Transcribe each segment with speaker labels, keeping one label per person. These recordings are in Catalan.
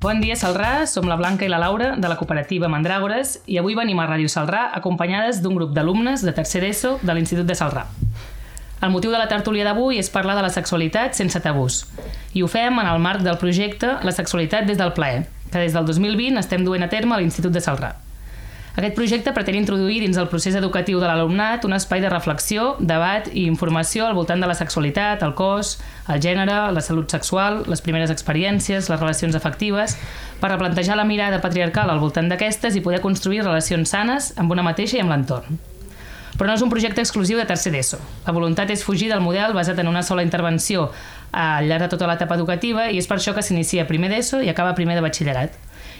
Speaker 1: Bon dia, Salrà. Som la Blanca i la Laura, de la cooperativa Mandràgores, i avui venim a Ràdio Salrà acompanyades d'un grup d'alumnes de tercer ESO de l'Institut de Salrà. El motiu de la tertúlia d'avui és parlar de la sexualitat sense tabús. I ho fem en el marc del projecte La sexualitat des del plaer, que des del 2020 estem duent a terme a l'Institut de Salrà. Aquest projecte pretén introduir dins el procés educatiu de l'alumnat un espai de reflexió, debat i informació al voltant de la sexualitat, el cos, el gènere, la salut sexual, les primeres experiències, les relacions afectives, per replantejar la mirada patriarcal al voltant d'aquestes i poder construir relacions sanes amb una mateixa i amb l'entorn. Però no és un projecte exclusiu de tercer d'ESO. La voluntat és fugir del model basat en una sola intervenció al llarg de tota l'etapa educativa i és per això que s'inicia primer d'ESO i acaba primer de batxillerat.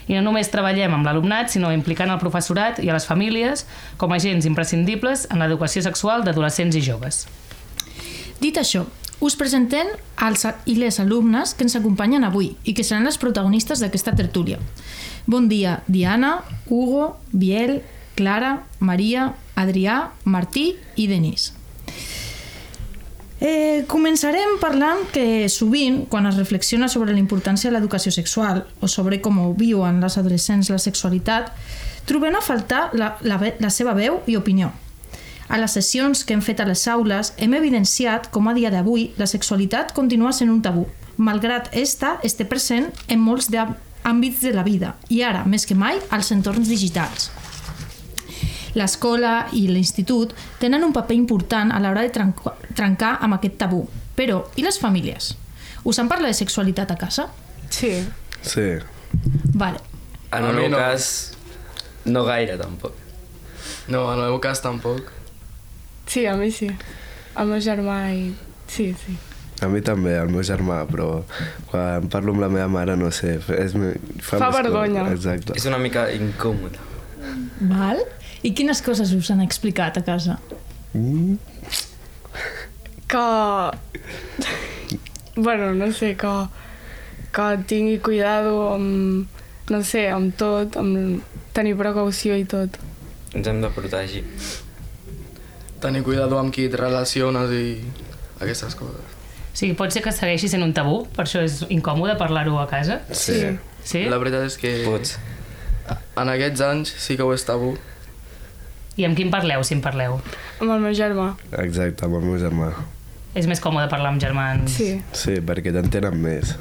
Speaker 1: I no només treballem amb l'alumnat, sinó implicant el professorat i a les famílies com a agents imprescindibles en l'educació sexual d'adolescents i joves.
Speaker 2: Dit això, us presentem els i les alumnes que ens acompanyen avui i que seran les protagonistes d'aquesta tertúlia. Bon dia, Diana, Hugo, Biel, Clara, Maria, Adrià, Martí i Denís. Eh, començarem parlant que sovint, quan es reflexiona sobre la importància de l'educació sexual o sobre com ho viuen les adolescents la sexualitat, trobem a faltar la, la, ve- la seva veu i opinió. A les sessions que hem fet a les aules hem evidenciat com a dia d'avui la sexualitat continua sent un tabú, malgrat esta esté present en molts de- àmbits de la vida i ara, més que mai, als entorns digitals. L'escola i l'institut tenen un paper important a l'hora de trenca- trencar amb aquest tabú. Però, i les famílies? Us en parla de sexualitat a casa?
Speaker 3: Sí.
Speaker 4: Sí.
Speaker 2: Vale.
Speaker 5: En
Speaker 3: A
Speaker 5: el
Speaker 3: mi
Speaker 5: meu
Speaker 3: no.
Speaker 5: cas, no gaire, tampoc.
Speaker 6: No, en el meu cas tampoc.
Speaker 3: Sí, a mi sí. El meu germà i... Sí, sí.
Speaker 4: A mi també, el meu germà, però quan parlo amb la meva mare, no sé, és, me-
Speaker 3: Fa
Speaker 4: més
Speaker 3: vergonya.
Speaker 4: còmic, Exacte.
Speaker 5: És una mica incòmode.
Speaker 2: Val. I quines coses us han explicat a casa?
Speaker 4: Mm,
Speaker 3: Que... bueno, no sé, que... Que tingui cuidado amb... No sé, amb tot, amb tenir precaució i tot.
Speaker 5: Ens hem de protegir.
Speaker 6: Tenir cuidado amb qui et relaciones i aquestes coses.
Speaker 1: O sigui, pot ser que segueixi sent un tabú, per això és incòmode parlar-ho a casa.
Speaker 4: sí. sí.
Speaker 1: Sí?
Speaker 6: La veritat és que
Speaker 5: Pots.
Speaker 6: en aquests anys sí que ho és tabú.
Speaker 1: I amb qui en parleu, si en parleu?
Speaker 3: Amb el meu germà,
Speaker 4: Exacte, amb el meu germà.
Speaker 1: És més còmode parlar amb germans.
Speaker 3: sí.
Speaker 4: Sí, perquè t'entenen més.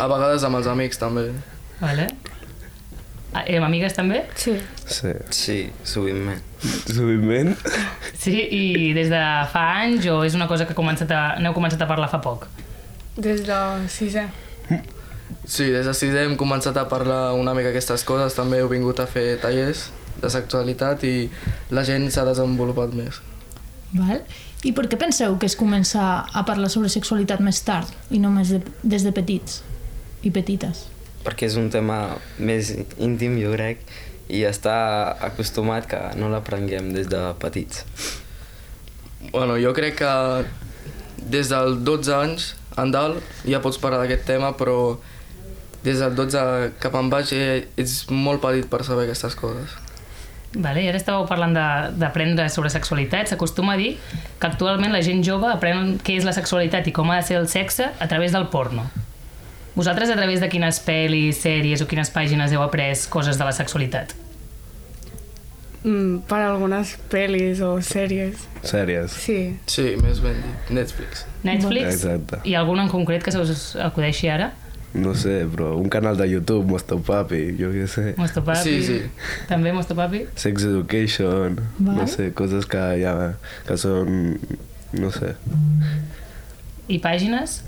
Speaker 6: A vegades amb els amics també.
Speaker 1: Vale. Ah, I amb amigues també?
Speaker 3: Sí.
Speaker 4: Sí.
Speaker 5: Sí, sovintment.
Speaker 4: Sovintment?
Speaker 1: Sí, i des de fa anys o és una cosa que ha començat a, n'heu començat a parlar fa poc?
Speaker 3: Des de sisè.
Speaker 6: Sí, des de sisè hem començat a parlar una mica aquestes coses, també heu vingut a fer tallers de sexualitat i la gent s'ha desenvolupat més.
Speaker 2: Val. I per què penseu que es comença a parlar sobre sexualitat més tard i no més de, des de petits i petites?
Speaker 5: Perquè és un tema més íntim, jo crec, i està acostumat que no l'aprenguem des de petits.
Speaker 6: Bueno, jo crec que des del 12 anys en dalt ja pots parlar d'aquest tema, però des del 12 cap en baix eh, ets molt petit per saber aquestes coses.
Speaker 1: Vale, I ara estàveu parlant de- d'aprendre sobre sexualitat. S'acostuma a dir que actualment la gent jove aprèn què és la sexualitat i com ha de ser el sexe a través del porno. Vosaltres a través de quines pel·lis, sèries o quines pàgines heu après coses de la sexualitat?
Speaker 3: Mm, per algunes pel·lis o sèries.
Speaker 4: Sèries.
Speaker 3: Sí.
Speaker 6: Sí, més ben dit, Netflix.
Speaker 1: Netflix?
Speaker 4: Exacte.
Speaker 1: I algun en concret que se us acudeixi ara?
Speaker 4: No sé, però un canal de YouTube, Mosto Papi, jo què sé.
Speaker 1: Mosto Papi?
Speaker 6: Sí, sí.
Speaker 1: També Mosto Papi?
Speaker 4: Sex Education,
Speaker 2: Val.
Speaker 4: no sé, coses que ja... que són... no sé.
Speaker 1: I pàgines?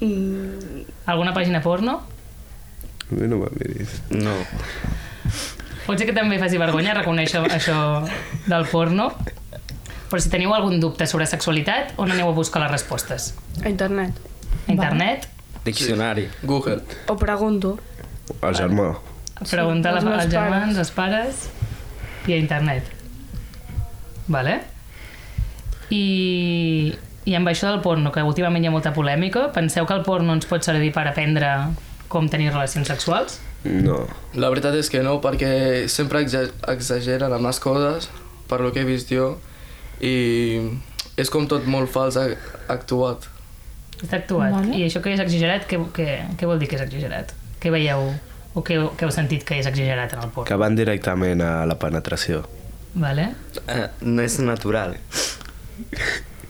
Speaker 3: Mm,
Speaker 1: Alguna pàgina porno?
Speaker 4: A mi no me'n miris.
Speaker 5: No.
Speaker 1: Pot ser que també faci vergonya reconèixer això del porno, però si teniu algun dubte sobre sexualitat, on aneu a buscar les respostes?
Speaker 3: a internet.
Speaker 1: A internet?
Speaker 5: Diccionari.
Speaker 6: Google.
Speaker 3: Ho pregunto.
Speaker 4: El germà.
Speaker 1: Preguntar
Speaker 3: Sí,
Speaker 1: als,
Speaker 3: als meus
Speaker 1: als germans,
Speaker 3: pares.
Speaker 1: als pares i a internet. Vale? I, I amb això del porno, que últimament hi ha molta polèmica, penseu que el porno ens pot servir per aprendre com tenir relacions sexuals?
Speaker 4: No.
Speaker 6: La veritat és que no, perquè sempre exa- exageren amb les coses, per lo que he vist jo, i és com tot molt fals a- actuat.
Speaker 1: Està actuat.
Speaker 2: Vale.
Speaker 1: I això que és exagerat, què, què, què vol dir que és exagerat? Què veieu? O què, què heu sentit que és exagerat en el porno?
Speaker 4: que van directament a la penetració.
Speaker 1: Vale?
Speaker 5: Eh, no és natural.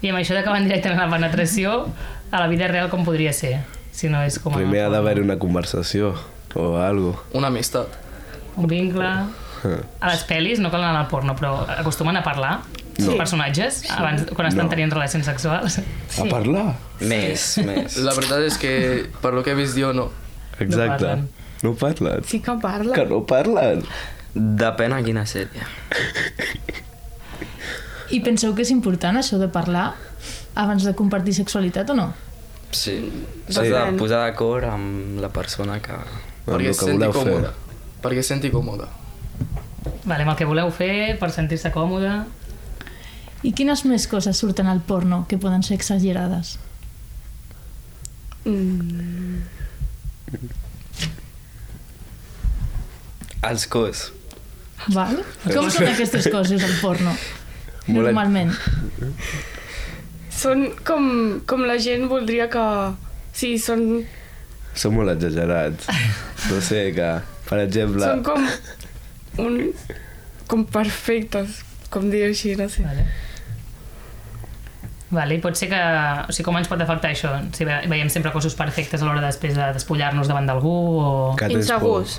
Speaker 1: I amb això de que van directament a la penetració, a la vida real com podria ser? Si no és com... en el
Speaker 4: Primer ha
Speaker 1: porno.
Speaker 4: d'haver una conversació o algo.
Speaker 6: Una amistat.
Speaker 1: Un vincle... A les pel·lis no cal anar al porno, però acostumen a parlar els personatges abans, quan estan
Speaker 4: No.
Speaker 1: tenint relacions sexuals.
Speaker 4: A parlar.
Speaker 5: Més, més.
Speaker 6: La veritat és que, per lo que he vist jo, no.
Speaker 4: Exacte.
Speaker 1: parlen.
Speaker 4: No parlen.
Speaker 3: Sí que parla.
Speaker 4: Que no parlen.
Speaker 5: Depèn a quina sèrie.
Speaker 2: I penseu que és important això de parlar abans de compartir sexualitat o no?
Speaker 5: Sí. S'has de
Speaker 3: Depèn.
Speaker 5: posar d'acord amb la persona que...
Speaker 4: Amb
Speaker 6: perquè
Speaker 4: el
Speaker 6: es
Speaker 4: que
Speaker 6: senti
Speaker 4: voleu fer.
Speaker 6: còmode. Perquè es senti còmode.
Speaker 1: Vale, amb el que voleu fer, per sentir-se còmode...
Speaker 2: I quines més coses surten al porno que poden ser exagerades?
Speaker 3: Mm,
Speaker 5: Els cos.
Speaker 2: Val? Com són aquestes coses al porno?
Speaker 4: Molt-
Speaker 2: Normalment.
Speaker 3: són com, com la gent voldria que... Sí, són,
Speaker 4: Són molt exagerats. No sé, que, per exemple...
Speaker 3: són com un... com perfectes, com dir així, no sé.
Speaker 1: Vale. Vale, i pot ser que... O sigui, com ens pot afectar això? Si ve- veiem sempre cossos perfectes a l'hora després de despullar-nos davant d'algú o...
Speaker 4: que tens
Speaker 3: Insegurs.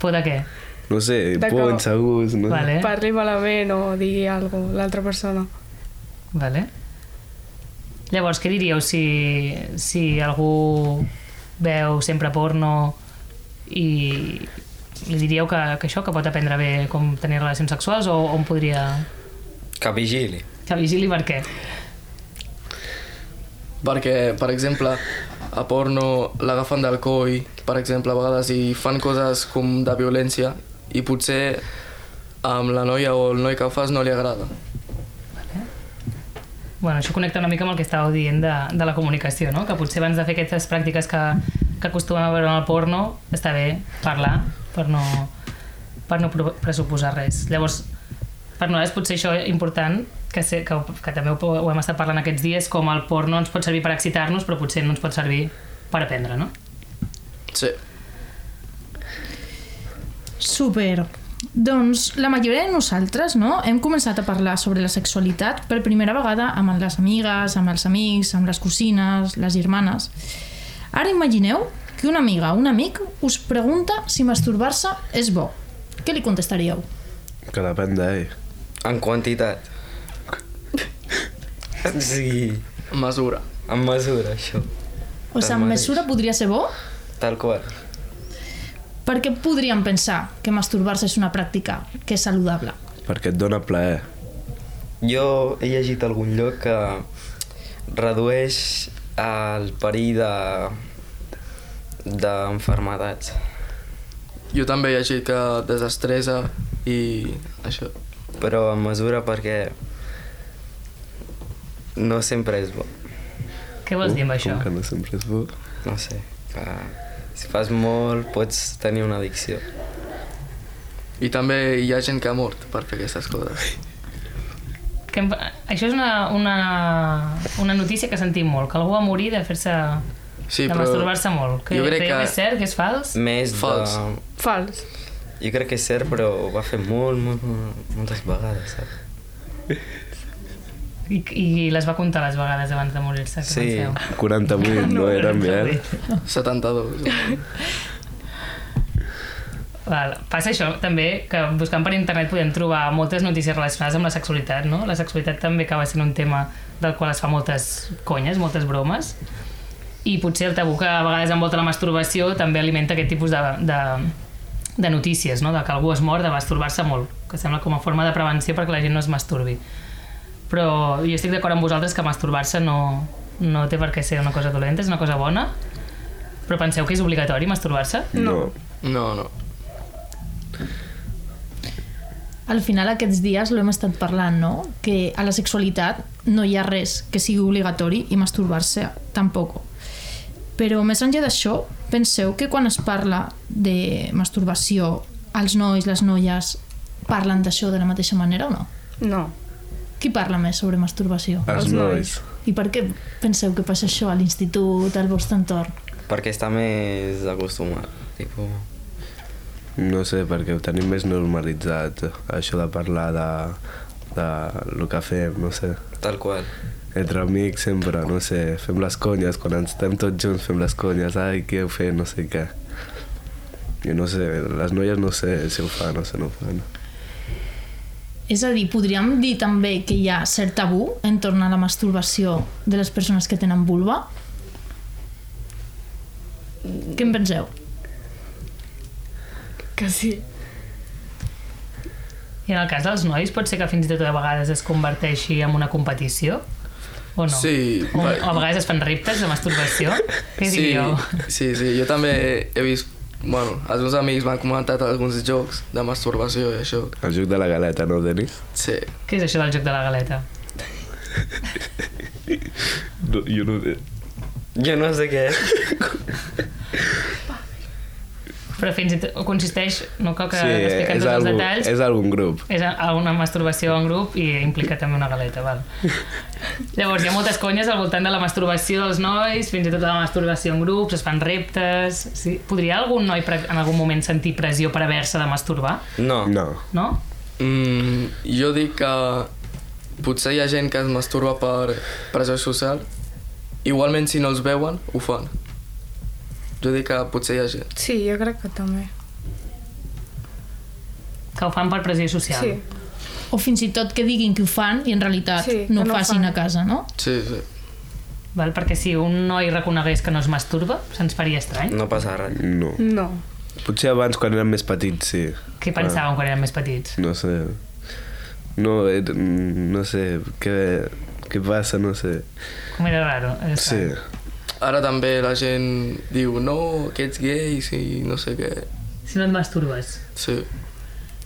Speaker 1: Por de què?
Speaker 4: Por. No sé,
Speaker 3: De
Speaker 4: por,
Speaker 3: que-
Speaker 4: insegurs... No?
Speaker 1: Vale. Eh?
Speaker 3: Parli malament o digui alguna cosa l'altra persona.
Speaker 1: Vale. Llavors, què diríeu si, si algú veu sempre porno i li diríeu que, que això, que pot aprendre bé com tenir relacions sexuals o on podria...
Speaker 5: Que vigili.
Speaker 1: Que vigili per què?
Speaker 6: Perquè, per exemple, a porno l'agafen del coll, per exemple, a vegades i fan coses com de violència i potser amb la noia o el noi que ho fas no li agrada.
Speaker 1: Bueno, això connecta una mica amb el que estàveu dient de, de la comunicació, no? Que potser abans de fer aquestes pràctiques que, que acostumem a veure en el porno, està bé parlar per no, per no pro- pressuposar res. Llavors, per nosaltres potser això és important, que, sé, que, ho- que també ho, po- ho hem estat parlant aquests dies, com el porno ens pot servir per excitar-nos, però potser no ens pot servir per aprendre, no?
Speaker 6: Sí.
Speaker 2: Super. Doncs la majoria de nosaltres no? hem començat a parlar sobre la sexualitat per primera vegada amb les amigues, amb els amics, amb les cosines, les germanes. Ara imagineu que una amiga o un amic us pregunta si masturbar-se és bo. Què li contestaríeu?
Speaker 4: Que depèn d'ell.
Speaker 5: En quantitat. Sí,
Speaker 6: Mesura.
Speaker 5: en mesura, això.
Speaker 2: O sigui, en
Speaker 5: Tanmateix.
Speaker 2: mesura podria ser bo?
Speaker 5: Tal qual.
Speaker 2: Perquè podríem pensar que masturbar-se és una pràctica que és saludable.
Speaker 4: Perquè et dona plaer.
Speaker 5: Jo he llegit a algun lloc que redueix el perill de d'enfermedats.
Speaker 6: Jo també he llegit que desestressa i això.
Speaker 5: Però en mesura perquè no sempre és bo.
Speaker 1: Què vols
Speaker 6: Uh,
Speaker 1: dir amb això?
Speaker 4: Com que no sempre és bo.
Speaker 5: No sé, que si fas molt pots tenir una addicció.
Speaker 6: I també hi ha gent que ha mort per fer aquestes coses.
Speaker 1: Que em, això és una, una, una notícia que sentim molt, que algú va morir de fer-se...
Speaker 6: Sí,
Speaker 1: de
Speaker 6: però
Speaker 1: masturbar-se molt. Que,
Speaker 6: jo crec
Speaker 1: creieu
Speaker 6: que-
Speaker 1: és cert, que és fals?
Speaker 5: Més
Speaker 6: Fals.
Speaker 5: de...
Speaker 3: Fals.
Speaker 5: Jo crec que és cert, però ho va fer molt, molt, molt moltes vegades, saps?
Speaker 1: I, I les va comptar les vegades abans de morir-se, que
Speaker 5: Sí.
Speaker 1: penseu?
Speaker 4: 48 no, no era enviar.
Speaker 6: 72.
Speaker 1: Val. Passa això també, que buscant per internet podem trobar moltes notícies relacionades amb la sexualitat, no? La sexualitat també acaba sent un tema del qual es fa moltes conyes, moltes bromes, i potser el tabú que a vegades envolta la masturbació també alimenta aquest tipus de, de, de notícies, no? de que algú es mor de masturbar-se molt, que sembla com a forma de prevenció perquè la gent no es masturbi. Però jo estic d'acord amb vosaltres que masturbar-se no, no té per què ser una cosa dolenta, és una cosa bona, però penseu que és obligatori masturbar-se?
Speaker 4: No.
Speaker 6: No, no.
Speaker 2: Al final aquests dies l'hem estat parlant, no? Que a la sexualitat no hi ha res que sigui obligatori i masturbar-se tampoc. Però més enllà d'això, penseu que quan es parla de masturbació, els nois, les noies, parlen d'això de la mateixa manera o no?
Speaker 3: No.
Speaker 2: Qui parla més sobre masturbació?
Speaker 4: Els
Speaker 3: Els
Speaker 4: nois.
Speaker 3: nois.
Speaker 2: I per què penseu que passa això a l'institut, al vostre entorn?
Speaker 5: perquè està més acostumat. Tipo,
Speaker 4: No sé, perquè ho tenim més normalitzat, això de parlar de, de lo que fem, no sé.
Speaker 5: tal qual.
Speaker 4: Entre amics sempre, no sé, fem les conyes, quan ens estem tots junts fem les conyes, ai, què heu fet, no sé què. Jo no sé, les noies no sé si ho fan o si no ho fan.
Speaker 2: És a dir, podríem dir també que hi ha cert tabú entorn a la masturbació de les persones que tenen vulva? Què en penseu?
Speaker 3: Que sí.
Speaker 1: I en el cas dels nois pot ser que fins i tot a vegades es converteixi en una competició? O no?
Speaker 6: Sí,
Speaker 1: O, o
Speaker 6: va-
Speaker 1: a vegades es fan riptes de masturbació? Què
Speaker 6: sí,
Speaker 1: diríeu?
Speaker 6: sí, sí, jo també he vist... Bueno, els meus amics m'han comentat alguns jocs de masturbació i això.
Speaker 4: El joc de la galeta, no, Denis?
Speaker 6: Sí.
Speaker 1: Què és això del joc de la galeta?
Speaker 4: No, jo no sé.
Speaker 5: Jo no sé què és.
Speaker 1: Però fins i tot consisteix, no cal que
Speaker 4: Sí,
Speaker 1: sí, expliquem
Speaker 4: és,
Speaker 1: tots els
Speaker 4: algun,
Speaker 1: detalls,
Speaker 4: és algun grup.
Speaker 1: és a- una masturbació en grup i implica també una galeta, val. Llavors, hi ha moltes conyes al voltant de la masturbació dels nois, fins i tot de la masturbació en grups, es fan reptes... Sí. Podria algun noi pre- en algun moment sentir pressió per haver-se de masturbar?
Speaker 5: No.
Speaker 4: No,
Speaker 1: No?
Speaker 6: Mm, jo dic que potser hi ha gent que es masturba per pressió social. Igualment, si no els veuen, ho fan. Jo dic que potser hi ha gent.
Speaker 3: Sí, jo crec que també.
Speaker 1: Que ho fan per pressió social.
Speaker 3: Sí.
Speaker 2: O fins i tot que diguin que ho fan i en realitat
Speaker 3: Sí,
Speaker 2: no ho
Speaker 3: que no ho
Speaker 2: facin
Speaker 3: fan.
Speaker 2: a casa, no?
Speaker 6: Sí, sí.
Speaker 1: Val? Perquè si un noi reconegués que no es masturba, se'ns faria estrany.
Speaker 5: No passa res.
Speaker 4: no.
Speaker 3: No.
Speaker 4: Potser abans, quan érem més petits, sí.
Speaker 1: Què pensàvem quan érem més petits?
Speaker 4: No sé. No, eh, no sé, què, què passa, no sé.
Speaker 1: Com era raro. era
Speaker 4: Sí,
Speaker 1: estrany.
Speaker 6: Ara també la gent diu, no, que ets gay, sí, no sé què.
Speaker 1: Si no et masturbes.
Speaker 6: Sí.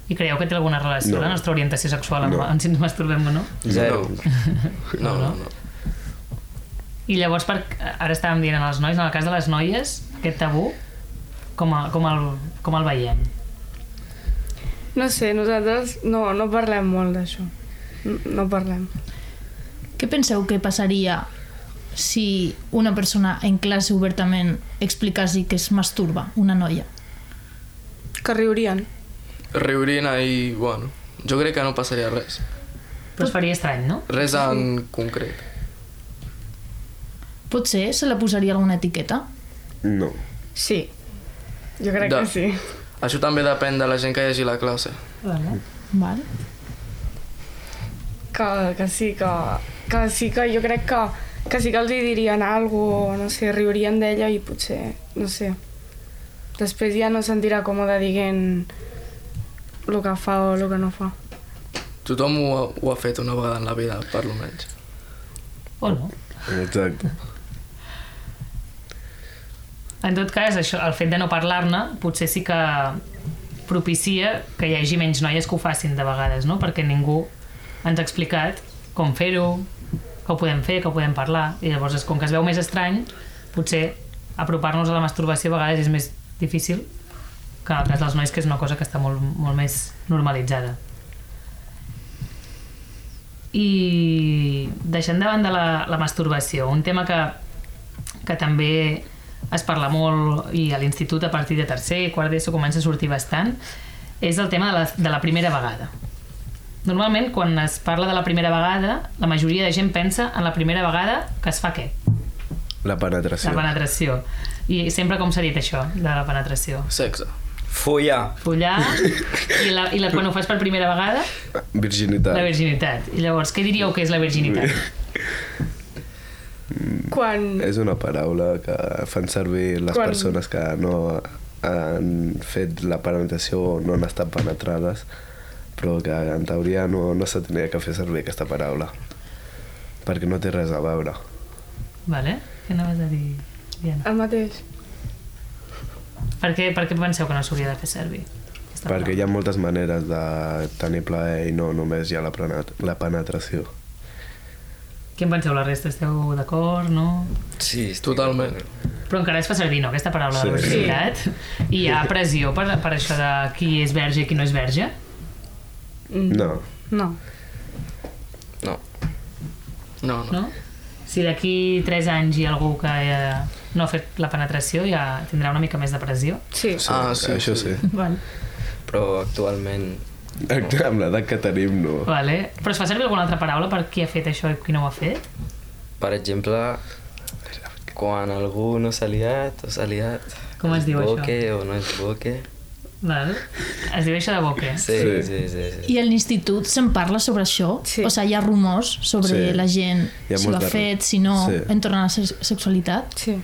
Speaker 1: I creieu que té alguna relació
Speaker 4: No.
Speaker 1: la nostra orientació sexual amb,
Speaker 4: No.
Speaker 1: amb si ens masturbem o no?
Speaker 5: Zero.
Speaker 6: No, no, no.
Speaker 1: I llavors, per, ara estàvem dient en els nois, en el cas de les noies, aquest tabú, com, a, com, el, com el veiem?
Speaker 3: No sé, nosaltres no, no parlem molt d'això. No, no parlem.
Speaker 2: Què penseu que passaria si una persona en classe obertament explicés que es masturba, una noia?
Speaker 3: Que riurien.
Speaker 6: Riurien i, bueno, jo crec que no passaria res.
Speaker 1: Però es faria estrany, no?
Speaker 6: Res en concret.
Speaker 2: Potser se la posaria alguna etiqueta?
Speaker 4: no.
Speaker 3: Sí. Jo crec
Speaker 6: De-
Speaker 3: que sí.
Speaker 6: Això també depèn de la gent que hi hagi a la classe.
Speaker 1: Vale.
Speaker 2: Val.
Speaker 3: Que, que sí, que, que sí que jo crec que, que sí que els hi dirien alguna cosa, no sé, riurien d'ella i potser, no sé, després ja no es sentirà còmode dient el que fa o el que no fa.
Speaker 6: Tothom ho ha, ho ha fet una vegada en la vida, per lo menys.
Speaker 1: O no?
Speaker 4: Exacte.
Speaker 1: En tot cas, això, el fet de no parlar-ne potser sí que propicia que hi hagi menys noies que ho facin de vegades, no? Perquè ningú ens ha explicat com fer-ho, que ho podem fer, que ho podem parlar. I llavors, és- com que es veu més estrany, potser apropar-nos a la masturbació a vegades és més difícil que en el cas dels nois, que és una cosa que està molt, molt més normalitzada. I deixant de banda la, la masturbació, un tema que que també es parla molt i a l'institut a partir de tercer i quart d'ESO comença a sortir bastant, és el tema de la, de la primera vegada. Normalment, quan es parla de la primera vegada, la majoria de gent pensa en la primera vegada que es fa què?
Speaker 4: La
Speaker 1: La
Speaker 4: penetració.
Speaker 1: penetració. I sempre com s'ha dit això, de la penetració?
Speaker 6: Sexe.
Speaker 5: Follar.
Speaker 1: Follar i, la, i la, quan ho fas per primera vegada,
Speaker 4: Virginitat.
Speaker 1: la virginitat. I llavors, què diríeu que és la virginitat?
Speaker 3: Quan...
Speaker 4: És una paraula que fan servir les
Speaker 3: Quan-
Speaker 4: Quan... persones que no han fet la penetració o no han estat penetrades, però que en teoria no, no se tenia que fer servir aquesta paraula, perquè no té res a veure.
Speaker 1: Vale? Què anaves a dir, Diana?
Speaker 3: El mateix.
Speaker 1: Per què, per què penseu que no s'hauria de fer servir? aquesta
Speaker 4: Perquè
Speaker 1: paraula?
Speaker 4: hi ha moltes maneres de tenir plaer i no només hi ha la, prenat, la penetració.
Speaker 1: Què en penseu la resta? Esteu d'acord, no?
Speaker 5: Sí, estic
Speaker 6: Totalment.
Speaker 1: Però encara es fa servir, no?, aquesta paraula sí. de
Speaker 4: Sí.
Speaker 1: virginitat. I hi ha pressió per, per això de qui és verge i qui no és verge.
Speaker 4: No,
Speaker 3: No.
Speaker 5: No.
Speaker 6: No, no.
Speaker 1: No? Si d'aquí 3 anys hi ha algú que eh, no ha fet la penetració ja tindrà una mica més de pressió.
Speaker 3: Sí.
Speaker 4: Sí,
Speaker 6: Ah, sí,
Speaker 4: això
Speaker 6: sí.
Speaker 4: sí.
Speaker 7: Val.
Speaker 5: però actualment
Speaker 4: Amb l'edat que tenim, no.
Speaker 1: Vale. Però es fa servir alguna altra paraula per qui ha fet això i qui no ho ha fet?
Speaker 5: Per exemple, quan algú no s'ha liat o s'ha liat...
Speaker 1: Com es diu
Speaker 5: boque
Speaker 1: això?
Speaker 5: Boque o no és boque.
Speaker 1: Val. Es diu això de boca.
Speaker 5: Sí,
Speaker 4: Sí.
Speaker 5: sí, sí. sí, sí.
Speaker 2: I a l'institut se'n parla sobre això?
Speaker 3: Sí.
Speaker 2: O sigui, hi ha rumors sobre
Speaker 4: Sí.
Speaker 2: la gent,
Speaker 4: Hi ha
Speaker 2: si
Speaker 4: molts
Speaker 2: ho ha
Speaker 4: de rum-
Speaker 2: fet, si no,
Speaker 4: Sí.
Speaker 2: entorn a la se sexualitat?
Speaker 3: Sí.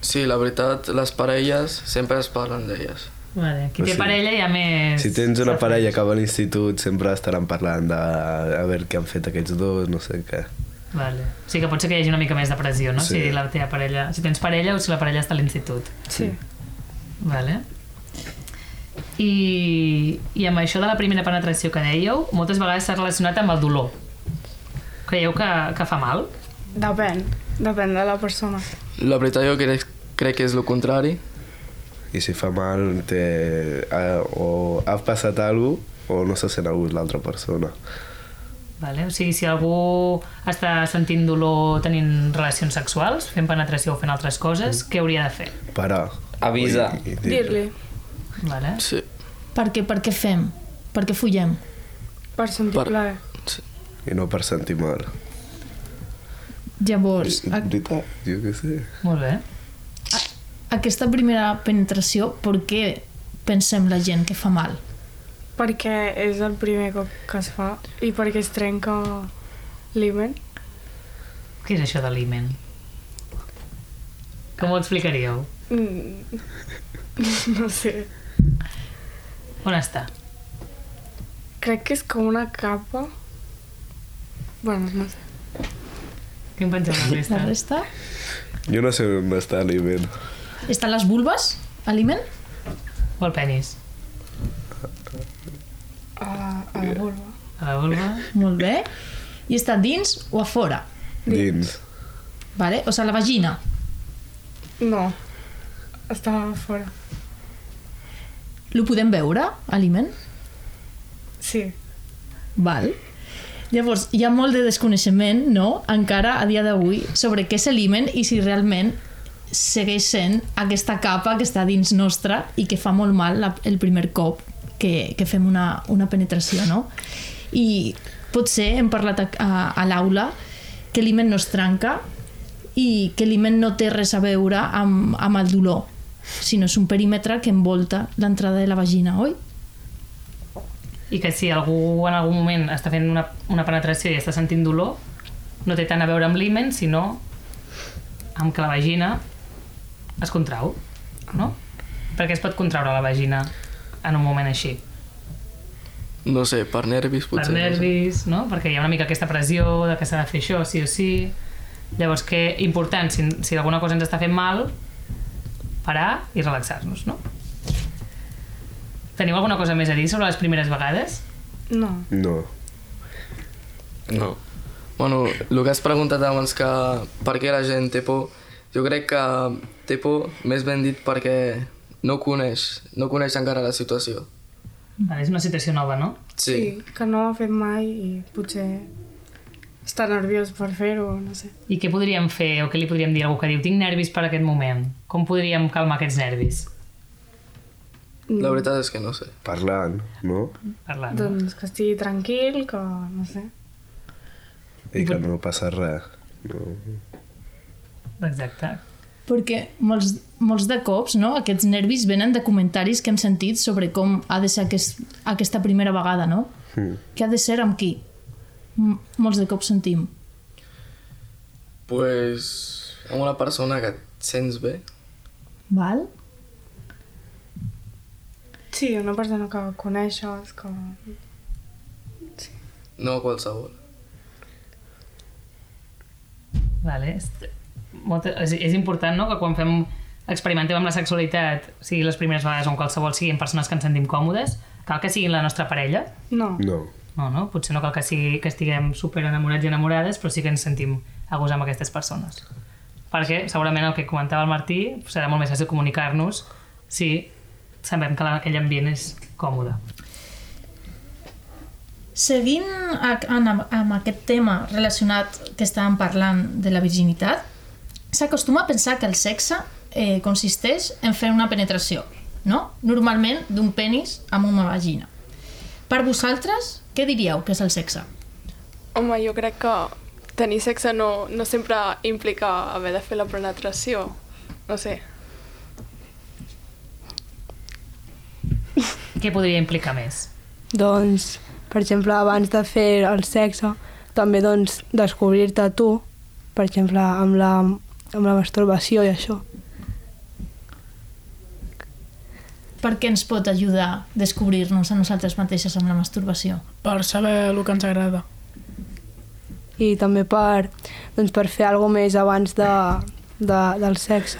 Speaker 6: Sí, la veritat, les parelles sempre es parlen d'elles.
Speaker 1: Vale. Qui
Speaker 4: O
Speaker 1: té
Speaker 4: sigui,
Speaker 1: parella ja més...
Speaker 4: Si tens una parella que va a l'institut, sempre estaran parlant de a veure què han fet aquests dos, no sé què.
Speaker 1: Vale. O sigui que pot ser que hi hagi una mica més de pressió, no?
Speaker 4: Sí.
Speaker 1: Si, la teva parella... si tens parella o si la parella està a l'institut.
Speaker 3: Sí.
Speaker 1: Vale. I, I amb això de la primera penetració que dèieu, moltes vegades s'ha relacionat amb el dolor. Creieu que, que fa mal?
Speaker 3: Depèn. Depèn de la persona.
Speaker 6: La veritat jo crec, crec que és el contrari.
Speaker 4: I si fa mal, té... ha- o ha passat alguna o no se sent a gust l'altra persona.
Speaker 1: Vale? O sigui, si algú està sentint dolor tenint relacions sexuals, fent penetració o fent altres coses, què hauria de fer?
Speaker 4: Parar.
Speaker 5: Avisar.
Speaker 4: I- i
Speaker 3: Dir-li
Speaker 1: Vale?
Speaker 6: Sí,
Speaker 2: Per què, per què fem? Per què follem?
Speaker 3: per sentir
Speaker 6: Per-
Speaker 3: plaer.
Speaker 6: sí.
Speaker 4: I no per sentir mal.
Speaker 2: Llavors, a
Speaker 4: Veritat, jo què sé.
Speaker 1: Molt bé.
Speaker 2: aquesta primera penetració, per què pensem la gent que fa mal?
Speaker 3: Perquè és el primer cop que es fa i perquè es trenca l'himen.
Speaker 1: Què és això de l'himen? Com ho explicaríeu?
Speaker 3: Mm. No sé.
Speaker 1: On està?
Speaker 3: Crec que és com una capa. Bueno, no sé.
Speaker 1: Què en penseu la
Speaker 2: La
Speaker 1: resta?
Speaker 2: resta?
Speaker 4: Jo no sé on està l'Iben.
Speaker 2: Estan les vulves? Aliment?
Speaker 1: O el penis?
Speaker 3: A la, a la vulva.
Speaker 1: A la vulva?
Speaker 2: Molt bé. I està dins o a fora?
Speaker 4: Dins.
Speaker 2: Vale? O sigui, la vagina.
Speaker 3: No. Estava fora.
Speaker 2: Lo podem veure, aliment?
Speaker 3: Sí.
Speaker 2: Val. Llavors, hi ha molt de desconeixement, no?, encara a dia d'avui, sobre què és l'himen i si realment segueix sent aquesta capa que està dins nostra i que fa molt mal la, el primer cop que, que fem una, una penetració, no? I potser hem parlat a, a, a l'aula que l'himen no es trenca i que l'himen no té res a veure amb, amb el dolor, sinó és un perímetre que envolta l'entrada de la vagina, oi?
Speaker 1: I que si algú en algun moment està fent una, una penetració i està sentint dolor, no té tant a veure amb l'himen, sinó amb que la vagina es contrau, no? Perquè es pot contraure la vagina en un moment així.
Speaker 6: No sé, per nervis potser.
Speaker 1: per
Speaker 6: no sé.
Speaker 1: nervis, no? Perquè hi ha una mica aquesta pressió de que s'ha de fer això, sí o sí. Llavors, que important, si, si alguna cosa ens està fent mal, parar i relaxar-nos, no? Teniu alguna cosa més a dir sobre les primeres vegades?
Speaker 3: No.
Speaker 4: No.
Speaker 5: No.
Speaker 6: Bueno, el que has preguntat abans que per què la gent té por, jo crec que té por, més ben dit, perquè no coneix, no coneix encara la situació.
Speaker 1: Vale, és una situació nova, no?
Speaker 3: Sí. Que no ho ha fet mai i potser està nerviós per fer-ho, no sé.
Speaker 1: I què podríem fer o què li podríem dir a algú que diu tinc nervis per aquest moment? Com podríem calmar aquests nervis?
Speaker 6: La veritat és que no sé.
Speaker 4: Parlant, no?
Speaker 1: Parlant. Ah, no?
Speaker 3: Doncs que estigui tranquil, que no sé.
Speaker 4: I que no passa res. No.
Speaker 1: Exacte.
Speaker 2: Perquè molts, molts de cops no, aquests nervis venen de comentaris que hem sentit sobre com ha de ser aquest, aquesta primera vegada, no?
Speaker 4: Mm.
Speaker 2: Que ha de ser amb qui? M molts de cops sentim.
Speaker 6: Pues, amb una persona que et sents bé,
Speaker 2: Val?
Speaker 3: Sí, una persona que coneixes, que...
Speaker 6: no qualsevol.
Speaker 1: Vale. és- Molta, és, és important, no?, que quan fem experimentem amb la sexualitat, sigui les primeres vegades o en qualsevol, siguin persones que ens sentim còmodes, cal que siguin la nostra parella.
Speaker 3: No.
Speaker 4: No.
Speaker 1: No, no, potser no cal que, sigui, que estiguem super enamorats i enamorades, però sí que ens sentim a gust amb aquestes persones. Perquè segurament el que comentava el Martí serà molt més fàcil comunicar-nos si sabem que la- aquell ambient és còmode.
Speaker 2: Seguint a, amb, amb aquest tema relacionat que estàvem parlant de la virginitat, s'acostuma a pensar que el sexe eh, consisteix en fer una penetració, no? Normalment d'un penis amb una vagina. Per vosaltres, què diríeu que és el sexe?
Speaker 8: Home, jo crec que tenir sexe no, no sempre implica haver de fer la penetració. No sé.
Speaker 1: Què podria implicar més?
Speaker 9: Doncs, per exemple, abans de fer el sexe, també doncs, descobrir-te tu, per exemple, amb la, amb la masturbació i això.
Speaker 2: Per què ens pot ajudar a descobrir-nos a nosaltres mateixes amb la masturbació?
Speaker 10: per saber el que ens agrada.
Speaker 9: I també per, doncs, per fer alguna més abans de, de, del sexe.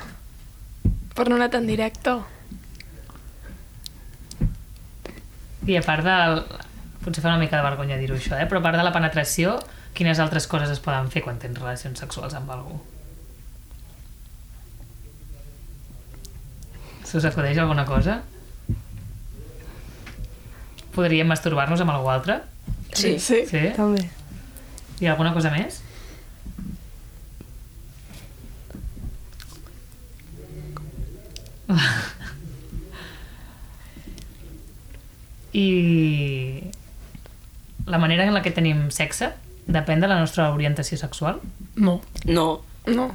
Speaker 8: Per no anar tan directe.
Speaker 1: I a part del... Potser fa una mica de vergonya dir-ho això, eh? però a part de la penetració, quines altres coses es poden fer quan tens relacions sexuals amb algú? Se us acudeix alguna cosa? Podríem masturbar-nos amb algú altre?
Speaker 8: Sí. sí.
Speaker 1: Sí?
Speaker 9: També.
Speaker 1: Hi ha alguna cosa més? I la manera en la que tenim sexe depèn de la nostra orientació sexual,
Speaker 10: No.
Speaker 3: No.
Speaker 8: No.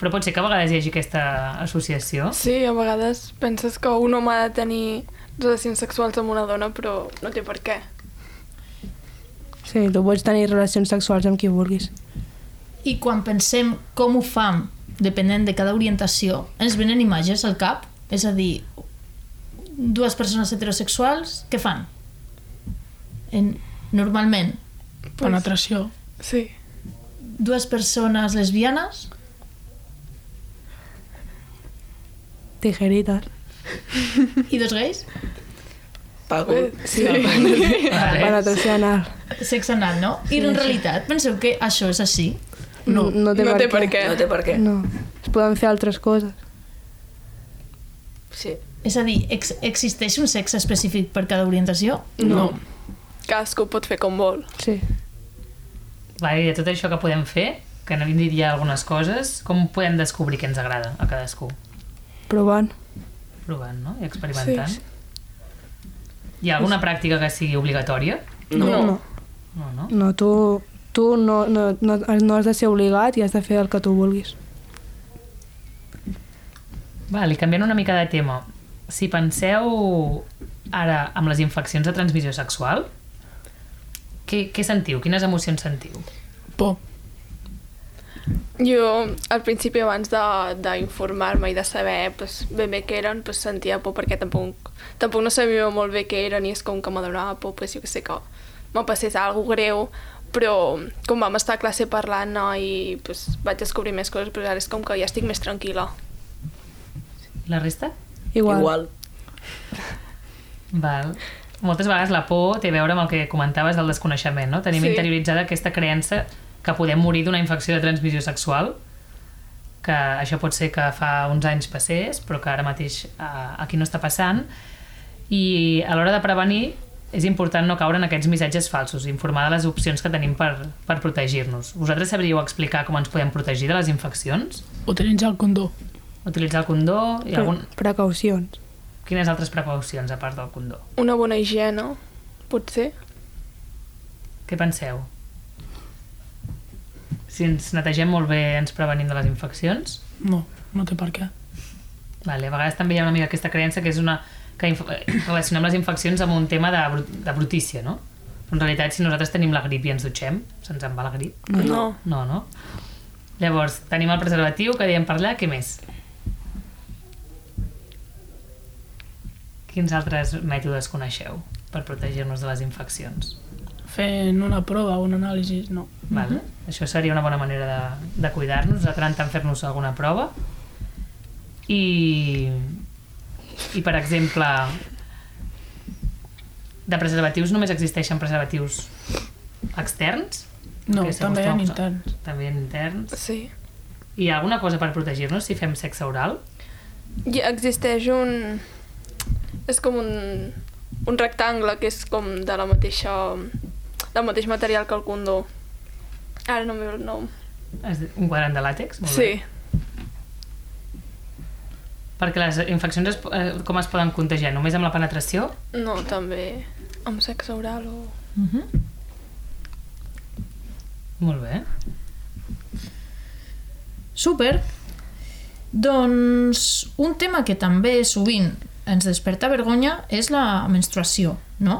Speaker 1: però pot ser que a vegades hi hagi aquesta associació.
Speaker 8: Sí, a vegades penses que un home ha de tenir relacions sexuals amb una dona, però no té per què.
Speaker 9: Sí, tu pots tenir relacions sexuals amb qui vulguis.
Speaker 2: I quan pensem com ho fam, depenent de cada orientació, ens venen imatges al cap? És a dir, dues persones heterosexuals, què fan? En, normalment,
Speaker 10: Penetració.
Speaker 8: Sí.
Speaker 2: dues persones lesbianes,
Speaker 9: Tijeritas.
Speaker 2: i dos gais?
Speaker 10: Pago.
Speaker 8: Sí.
Speaker 1: Vale.
Speaker 9: Penetració anal.
Speaker 2: Sexe anal, no? I en realitat, penseu que això és així?
Speaker 9: No, no té,
Speaker 8: no
Speaker 9: per,
Speaker 8: té
Speaker 9: què.
Speaker 8: per què.
Speaker 10: No té per què.
Speaker 9: No. Es poden fer altres coses.
Speaker 10: Sí.
Speaker 2: És a dir, ex existeix un sexe específic per cada orientació?
Speaker 10: No.
Speaker 8: Cadascú pot fer com vol.
Speaker 9: Sí.
Speaker 1: Vale, I de tot això que podem fer, que no diria algunes coses, com podem descobrir què ens agrada a cadascú?
Speaker 9: Provant.
Speaker 1: provant, no? I experimentant. Sí, sí. Hi ha alguna pràctica que sigui obligatòria?
Speaker 9: No. No,
Speaker 1: No, no?
Speaker 9: no tu, tu no, no, no, no has de ser obligat i has de fer el que tu vulguis.
Speaker 1: Val, i canviant una mica de tema, si penseu ara amb les infeccions de transmissió sexual, què, què sentiu? Quines emocions sentiu?
Speaker 10: Por.
Speaker 8: Jo, al principi, abans de- d'informar-me i de saber pues, ben bé què eren, pues, sentia por perquè tampoc, tampoc no sabia molt bé què eren i és com que m'adonava por, pues, jo que sé que me passés alguna greu, però com vam estar a classe parlant no, i pues, vaig descobrir més coses, però ara és com que ja estic més tranquil·la.
Speaker 1: La resta?
Speaker 9: Igual.
Speaker 10: Igual.
Speaker 1: Val. Moltes vegades la por té a veure amb el que comentaves del desconeixement, no? Tenim sí.
Speaker 8: Sí.
Speaker 1: interioritzada aquesta creença que podem morir d'una infecció de transmissió sexual, que això pot ser que fa uns anys passés, però que ara mateix eh, aquí no està passant. I a l'hora de prevenir és important no caure en aquests missatges falsos, informar de les opcions que tenim per, per protegir-nos. Vosaltres sabríeu explicar com ens podem protegir de les infeccions?
Speaker 10: Utilitzar el condó.
Speaker 1: Utilitzar el condó? i
Speaker 9: Pre
Speaker 1: algun...
Speaker 9: Precaucions.
Speaker 1: Quines altres precaucions a part del condó?
Speaker 8: Una bona higiene, potser.
Speaker 1: Què penseu? Si ens netegem molt bé ens prevenim de les infeccions?
Speaker 10: No, no té per què.
Speaker 1: Vale, a vegades també hi ha una mica aquesta creença que és una que inf- eh, relacionem les infeccions amb un tema de, bru- de brutícia, no? Però en realitat, si nosaltres tenim la grip i ens dutxem, se'ns en va la grip.
Speaker 8: No. no.
Speaker 1: No, no? Llavors, tenim el preservatiu, que diem parlar, què més? Quins altres mètodes coneixeu per protegir-nos de les infeccions?
Speaker 10: Fent una prova, un anàlisi, no.
Speaker 1: Val? Això seria una bona manera de, de cuidar-nos, de tant en tant fer-nos alguna prova. I, I, per exemple, de preservatius només existeixen preservatius externs?
Speaker 10: No,
Speaker 1: Que
Speaker 10: també en
Speaker 1: segons-
Speaker 10: interns.
Speaker 1: També en interns.
Speaker 8: Sí.
Speaker 1: Hi ha alguna cosa per protegir-nos si fem sexe oral?
Speaker 8: Hi existeix un... És com un, un rectangle que és com de la mateixa del mateix material que el condó. Ara no em ve el nom.
Speaker 1: Es di- Un quadrant de làtex? Molt
Speaker 8: Sí.
Speaker 1: Bé. Perquè les infeccions es, po- eh, com es poden contagiar? Només amb la penetració?
Speaker 8: No, també amb sexe oral o...
Speaker 1: Uh
Speaker 2: Mhm.
Speaker 1: -huh. Molt bé.
Speaker 2: Super. Doncs un tema que també sovint ens desperta vergonya és la menstruació, no?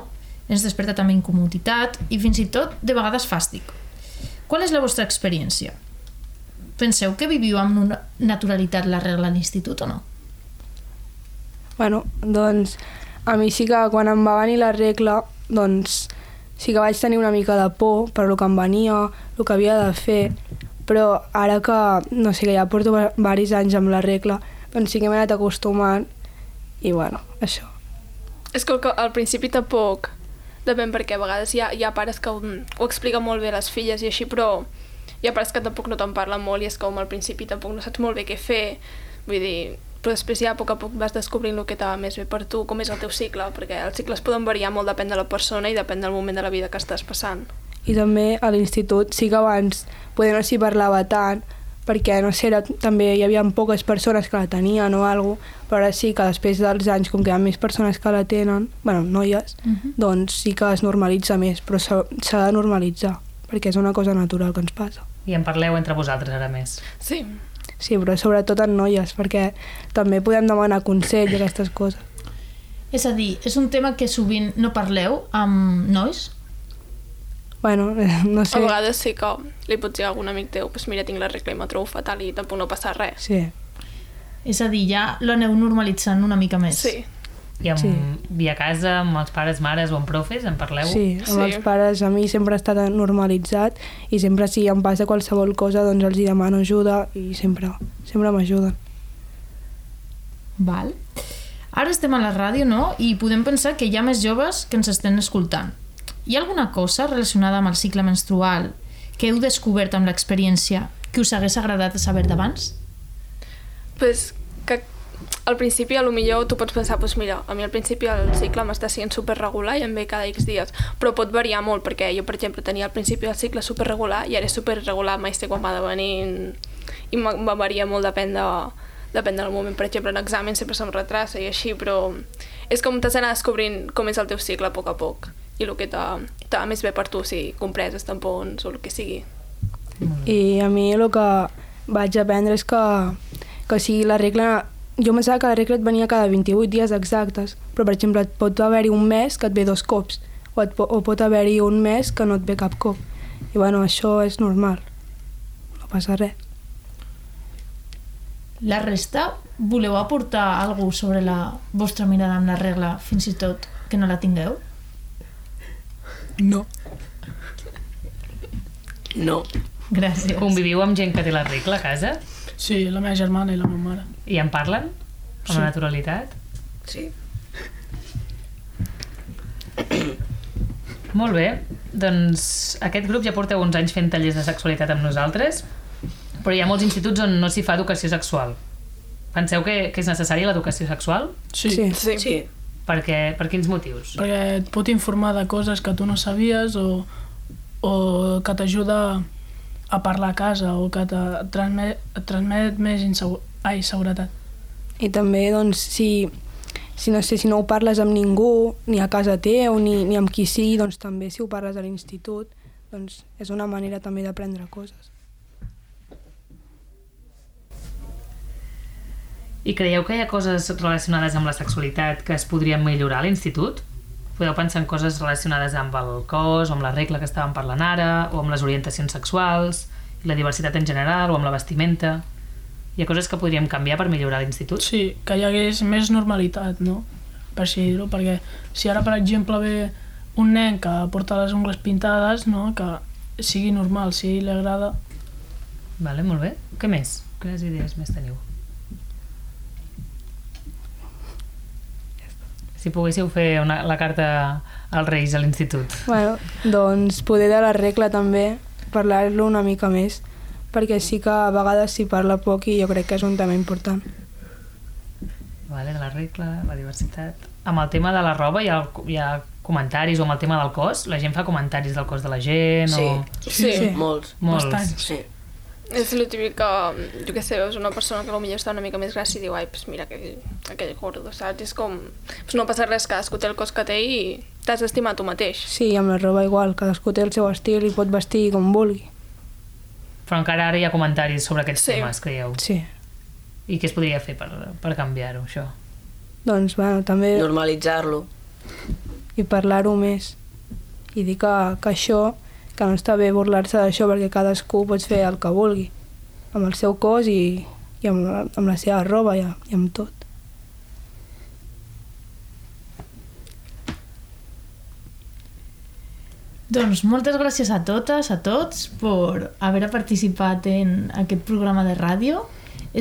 Speaker 2: Ens desperta també incomoditat i fins i tot de vegades fàstic. Qual és la vostra experiència? Penseu que viviu amb una naturalitat la regla a l'institut o no?
Speaker 9: Bueno, doncs a mi sí que quan em va venir la regla, doncs sí que vaig tenir una mica de por per lo que em venia, el que havia de fer, però ara que, no sé, que ja porto va- varis anys amb la regla, doncs sí que m'he anat acostumant i bueno, això.
Speaker 8: És que al- que al principi tampoc depèn perquè a vegades hi ha, hi ha pares que ho, ho expliquen molt bé a les filles i així, però hi ha pares que tampoc no te'n parlen molt i és com al principi tampoc no saps molt bé què fer, vull dir, però després ja a poc a poc vas descobrint el que te va més bé per tu, com és el teu cicle, perquè els cicles poden variar molt depèn de la persona i depèn del moment de la vida que estàs passant.
Speaker 9: I també a l'institut sí que abans poder no s'hi parlava tant, perquè no sé, era, també hi havia poques persones que la tenien o alguna cosa, però ara sí que després dels anys, com que hi ha més persones que la tenen, bueno, noies,
Speaker 2: Mhm.
Speaker 9: doncs sí que es normalitza més, però s'ha s'ha de normalitzar, perquè és una cosa natural que ens passa.
Speaker 1: I en parleu entre vosaltres ara més.
Speaker 8: Sí.
Speaker 9: Sí, però sobretot en noies, perquè també podem demanar consell i aquestes coses.
Speaker 2: És a dir, és un tema que sovint no parleu amb nois?
Speaker 9: Bueno, no
Speaker 8: Sí. A vegades sí que li pots dir a algun amic teu, pues mira, tinc la regla i me trobo fatal i tampoc no passa res.
Speaker 9: Sí.
Speaker 2: És a dir, ja l'aneu normalitzant una mica més.
Speaker 8: Sí.
Speaker 1: I, amb, sí. I a casa, amb els pares, mares o amb profes, en parleu?
Speaker 9: Sí, amb sí. els pares a mi sempre ha estat normalitzat i sempre si em passa qualsevol cosa doncs els hi demano ajuda i sempre, sempre m'ajuden.
Speaker 2: Val. Ara estem a la ràdio, no? I podem pensar que hi ha més joves que ens estan escoltant. Hi ha alguna cosa relacionada amb el cicle menstrual que heu descobert amb l'experiència que us hagués agradat saber d'abans?
Speaker 8: pues, que al principi a lo millor tu pots pensar pues mira, a mi al principi el cicle m'està sent superregular i em ve cada X dies però pot variar molt perquè jo per exemple tenia al principi el cicle superregular i ara és superregular mai sé quan m'ha de venir i m'ha- em varia molt depèn de depèn del moment, per exemple en examen sempre se'm retrasa i així, però és com t'has d'anar descobrint com és el teu cicle a poc a poc i el que te, te va més bé per tu si compreses tampons o el que sigui
Speaker 9: I a mi el que vaig aprendre és que, que si la regla... Jo pensava que la regla et venia cada 28 dies exactes, però per exemple et pot haver-hi un mes que et ve dos cops o, et po o pot haver-hi un mes que no et ve cap cop. I bueno, això és normal, no passa res.
Speaker 2: La resta, voleu aportar alguna cosa sobre la vostra mirada amb la regla, fins i tot que no la tingueu?
Speaker 10: No. No.
Speaker 2: Gràcies.
Speaker 1: Conviviu amb gent que té la regla a casa?
Speaker 10: Sí, la meva germana i la meva mare.
Speaker 1: I en parlen? Amb
Speaker 10: Sí.
Speaker 1: sí. naturalitat?
Speaker 10: Sí.
Speaker 1: Molt bé. Doncs aquest grup ja porteu uns anys fent tallers de sexualitat amb nosaltres, però hi ha molts instituts on no s'hi fa educació sexual. Penseu que, que és necessària l'educació sexual?
Speaker 10: Sí. Sí. Sí. Sí.
Speaker 1: Per, què, per quins motius?
Speaker 10: Perquè et pot informar de coses que tu no sabies o, o que t'ajuda a parlar a casa o que te transmet, et transmet més insegu... Ai, seguretat.
Speaker 9: I també, doncs, si, si, no sé, si no ho parles amb ningú, ni a casa teu, ni, ni amb qui sigui, doncs també si ho parles a l'institut, doncs és una manera també d'aprendre coses.
Speaker 1: I creieu que hi ha coses relacionades amb la sexualitat que es podrien millorar a l'institut? Podeu pensar en coses relacionades amb el cos, o amb la regla que estàvem parlant ara, o amb les orientacions sexuals, i la diversitat en general, o amb la vestimenta... Hi ha coses que podríem canviar per millorar a l'institut?
Speaker 10: Sí, que hi hagués més normalitat, no? Per així dir-ho, perquè si ara, per exemple, ve un nen que porta les ungles pintades, no? Que sigui normal, si li agrada...
Speaker 1: Vale, molt bé. Què més? Quines idees més teniu? Si poguéssiu fer una, la carta als Reis a l'institut.
Speaker 9: Bueno, doncs poder de la regla també, parlar-lo una mica més, perquè sí que a vegades s'hi parla poc i jo crec que és un tema important.
Speaker 1: Vale, de la regla, la diversitat... Amb el tema de la roba hi ha, hi ha comentaris o amb el tema del cos? La gent fa comentaris del cos de la gent?
Speaker 11: Sí,
Speaker 1: O...
Speaker 11: sí, sí. molts.
Speaker 1: Molts.
Speaker 12: Bastants.
Speaker 11: Sí.
Speaker 8: És el típic que, jo què sé, veus una persona que potser està una mica més grassa i diu, ai, pues mira aquell, aquell gordo, saps? És com, pues no passa res, cadascú té el cos que té i t'has d'estimar tu mateix.
Speaker 9: Sí, amb la roba igual, cadascú té el seu estil i pot vestir com vulgui.
Speaker 1: Però encara ara hi ha comentaris sobre aquests sí. temes, creieu?
Speaker 9: Sí.
Speaker 1: I què es podria fer per, per canviar-ho, això?
Speaker 9: Doncs, bueno, també...
Speaker 11: Normalitzar-lo.
Speaker 9: I parlar-ho més. I dir que, que això, que no està bé burlar-se d'això perquè cadascú pots fer el que vulgui. Amb el seu cos i, i amb, la, amb la seva roba i, i amb tot.
Speaker 2: Doncs moltes gràcies a totes, a tots, per haver participat en aquest programa de ràdio.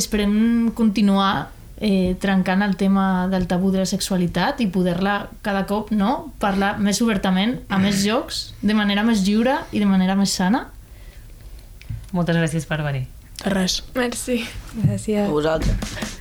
Speaker 2: Esperem continuar eh, trencant el tema del tabú de la sexualitat i poder-la cada cop no parlar més obertament a més llocs, de manera més lliure i de manera més sana.
Speaker 1: Moltes gràcies per venir.
Speaker 11: Res.
Speaker 8: Merci.
Speaker 9: Gràcies.
Speaker 11: A vosaltres.